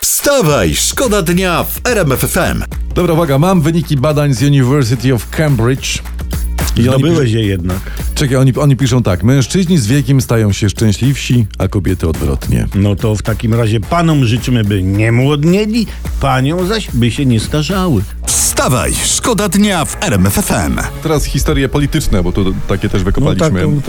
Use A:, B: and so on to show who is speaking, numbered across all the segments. A: Wstawaj, szkoda dnia w RMFFM.
B: Dobra, uwaga, mam wyniki badań z University of Cambridge. I oni, pisz,
C: Zdobyłeś No je jednak.
B: czekaj, oni, oni piszą tak. Mężczyźni z wiekiem stają się szczęśliwsi, a kobiety odwrotnie.
C: No to w takim razie panom życzymy, by nie młodnieli, paniom zaś, by się nie starzały.
A: Wstawaj, szkoda dnia w RMFFM.
B: Teraz historie polityczne, bo tu takie też wykopaliśmy. tak, no. Na
C: No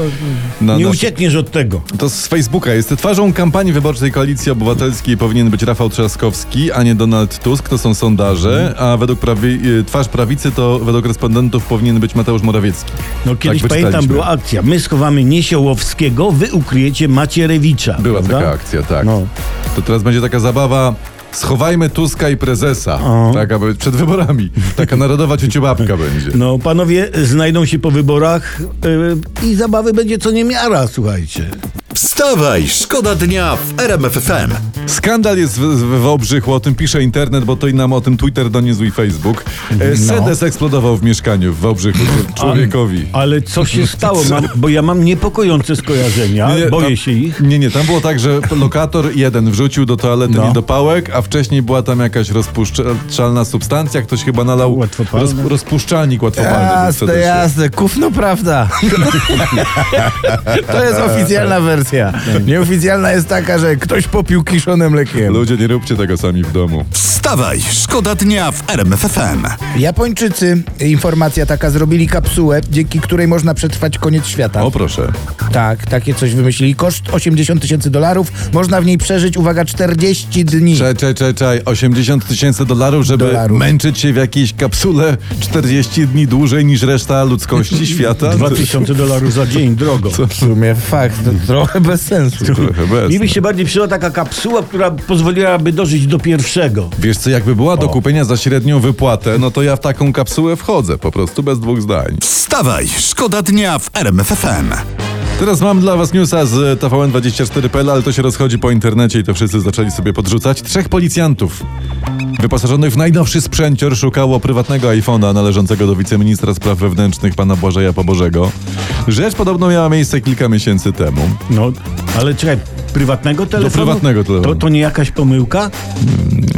C: tak, nie
B: nasz-
C: uciekniesz od tego.
B: To z Facebooka. Jest twarzą kampanii wyborczej Koalicji Obywatelskiej powinien być Rafał Trzaskowski, a nie Donald Tusk. To są sondaże. A według prawi- y, twarz prawicy to według respondentów powinien być Mateusz Morawiecki.
C: No kiedyś
B: Tak
C: pamiętam,
B: wyczytaliśmy.
C: była akcja. My schowamy Niesiołowskiego, wy ukryjecie Macierewicza.
B: Była
C: prawda?
B: taka akcja, tak.
C: No.
B: To teraz będzie taka zabawa. Schowajmy Tuska i prezesa. Taka by- przed wyborami. Taka narodowa ciuciubabka będzie.
C: No, panowie znajdą się po wyborach yy, i zabawy będzie co niemiara, słuchajcie.
A: Wstawaj, szkoda dnia w RMFFM.
B: Skandal jest w, w Wałbrzychu, o tym pisze internet, bo to i nam o tym Twitter doniósł i Facebook. E,
C: No.
B: Sedes eksplodował w mieszkaniu w Wałbrzychu czł- człowiekowi.
C: Ale co się stało? Mam, bo ja mam niepokojące skojarzenia,
B: No Nie, no-
C: boję
B: tam-
C: się ich.
B: Nie, nie, tam było tak, że lokator jeden wrzucił do toalety
C: No.
B: niedopałek, a wcześniej była tam jakaś rozpuszczalna substancja, ktoś chyba nalał
C: Łatwopalny.
B: rozp- rozpuszczalnik łatwopalny. był
D: Jasne,
B: sedesie.
D: jasne, kufno prawda. to jest oficjalna wersja. Nieoficjalna jest taka, że ktoś popił kiszone mlekiem.
B: Ludzie, nie róbcie tego sami w domu.
A: Wstawaj, szkoda dnia w RMFFM.
D: Japończycy, informacja taka, zrobili kapsułę, dzięki której można przetrwać koniec świata.
B: O proszę.
D: Tak, takie coś wymyślili. Koszt 80 tysięcy dolarów. Można w niej przeżyć, uwaga, 40 dni.
B: Czaj, czaj, czaj, czaj. 80 tysięcy dolarów, żeby
D: Dolarów.
B: męczyć się w jakiejś kapsule 40 dni dłużej niż reszta ludzkości świata?
C: 2000 dolarów za dzień, drogo.
D: W sumie fakt, to trochę bez sensu.
B: Trochę
C: Mi
B: bez.
C: by się bardziej przyjęła taka kapsuła, która pozwoliłaby dożyć do pierwszego.
B: Wiesz co, jakby była do kupienia za średnią wypłatę, no to ja w taką kapsułę wchodzę, po prostu bez dwóch zdań.
A: Wstawaj, szkoda dnia w RMFFM.
B: Teraz mam dla was newsa z TVN24.pl, ale to się rozchodzi po internecie i to wszyscy zaczęli sobie podrzucać. Trzech policjantów wyposażonych w najnowszy sprzęcior szukało prywatnego iPhone'a należącego do wiceministra spraw wewnętrznych pana Błażeja Pobożego. Rzecz podobno miała miejsce kilka miesięcy temu.
C: No, ale czekaj, prywatnego telefonu?
B: prywatnego telefonu.
C: To, to nie jakaś pomyłka?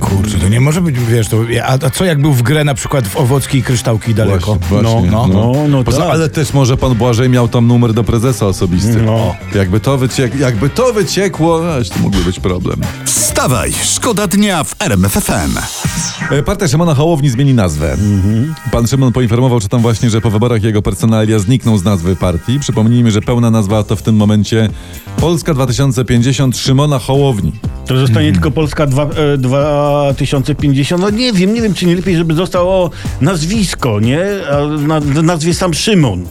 D: Kurczę, to nie może być, wiesz, to, a, a co jak był w grę na przykład w owocki i kryształki daleko?
B: Właśnie, właśnie,
D: no, no.
C: no, no tak.
B: ale też może pan Błażej miał tam numer do prezesa osobisty.
C: No.
B: Jakby to, wyciek, jakby to wyciekło, aż to mógłby być problem.
A: Wstawaj, szkoda dnia w RMFFM.
B: E, Partia Szymona Hołowni zmieni nazwę. Pan Szymon poinformował, czy tam właśnie, że po wyborach jego personalia znikną z nazwy partii. Przypomnijmy, że pełna nazwa to w tym momencie Polska 2050 Szymona Hołowni.
C: To zostanie
B: Mhm.
C: tylko Polska dwa- e, 2050. No nie wiem, nie wiem, czy nie lepiej, żeby zostało nazwisko, nie? A na, w nazwie sam Szymon.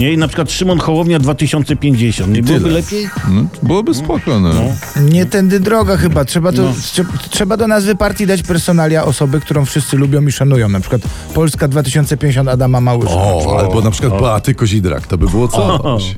C: Nie? I na przykład Szymon Hołownia 2050. Nie byłoby
B: tyle.
C: lepiej?
B: No, byłoby spoko, no.
D: Nie tędy droga chyba. Trzeba, to, trze- trzeba do nazwy partii dać personalia osoby, którą wszyscy lubią i szanują. Na przykład Polska 2050 Adama Małysza.
B: O, albo na przykład Beaty Kozidrak, to by było coś.